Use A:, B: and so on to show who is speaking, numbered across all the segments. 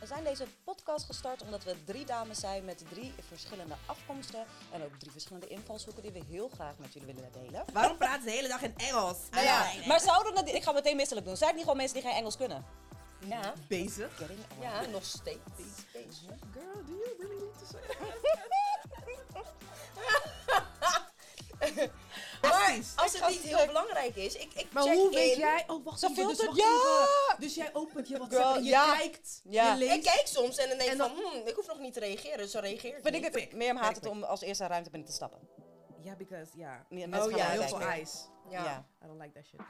A: We zijn deze podcast gestart omdat we drie dames zijn met drie verschillende afkomsten en ook drie verschillende invalshoeken die we heel graag met jullie willen delen.
B: Waarom praat ze de hele dag in Engels?
A: Nou ja, maar zouden dat, ik ga het meteen misselijk doen. Zijn het niet gewoon mensen die geen Engels kunnen?
C: Ja,
B: bezig.
A: Getting on.
C: ja, nog steeds.
B: Girl, do you really need to say
C: Maar
B: Precies.
C: als
A: Ik
C: het
A: ga
C: niet
A: het
C: heel
A: heel-
C: belangrijk is, ik, ik
B: Maar
C: check
B: hoe weet
C: in.
B: jij? Oh, wacht
A: Ze
B: even, dus
A: filtert-
B: wacht
A: ja!
B: even. Dus jij opent je WhatsApp
A: Girl,
B: en je
A: ja.
B: kijkt,
A: Ja.
B: je leest.
C: Ik kijk soms en dan denk ik
B: En
C: van,
B: dan-
C: hmm, ik hoef nog niet te reageren, dus ze reageert
A: Vind ik
C: niet.
A: het, Mirjam haat het om als eerste ruimte binnen te stappen.
B: Ja, because, ja.
A: Ja, mensen
B: Oh
A: gaan
B: ja,
A: mij
B: heel veel
A: kijken.
B: eyes.
C: Ja.
A: Ja.
B: I don't like that shit.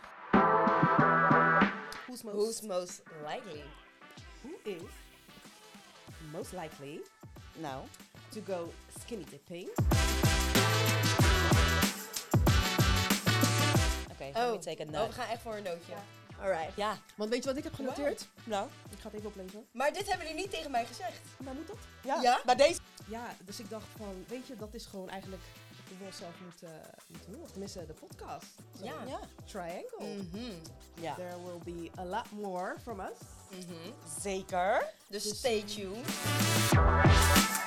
B: Who's most,
C: Who's most likely?
B: who is most likely
A: Nou,
B: to go skinny dipping?
A: oké, let me take a
C: oh, we
A: note.
C: gaan echt voor een nootje. Alright.
A: Ja,
B: Want weet je wat ik heb genoteerd?
A: nou,
B: Ik ga het even oplezen.
C: Maar dit hebben jullie niet tegen mij gezegd.
B: Maar moet dat?
A: ja.
C: Ja?
A: Maar deze...
B: Ja, dus ik dacht van, weet je, dat is gewoon eigenlijk hoe we onszelf moeten, moeten eh, doen. Of tenminste, de podcast. Zo,
C: Ja.
A: Ja.
B: Triangle.
C: Mhm.
A: ja.
B: There will be a lot more from us.
C: Mhm.
A: Zeker.
C: Dus stay tuned.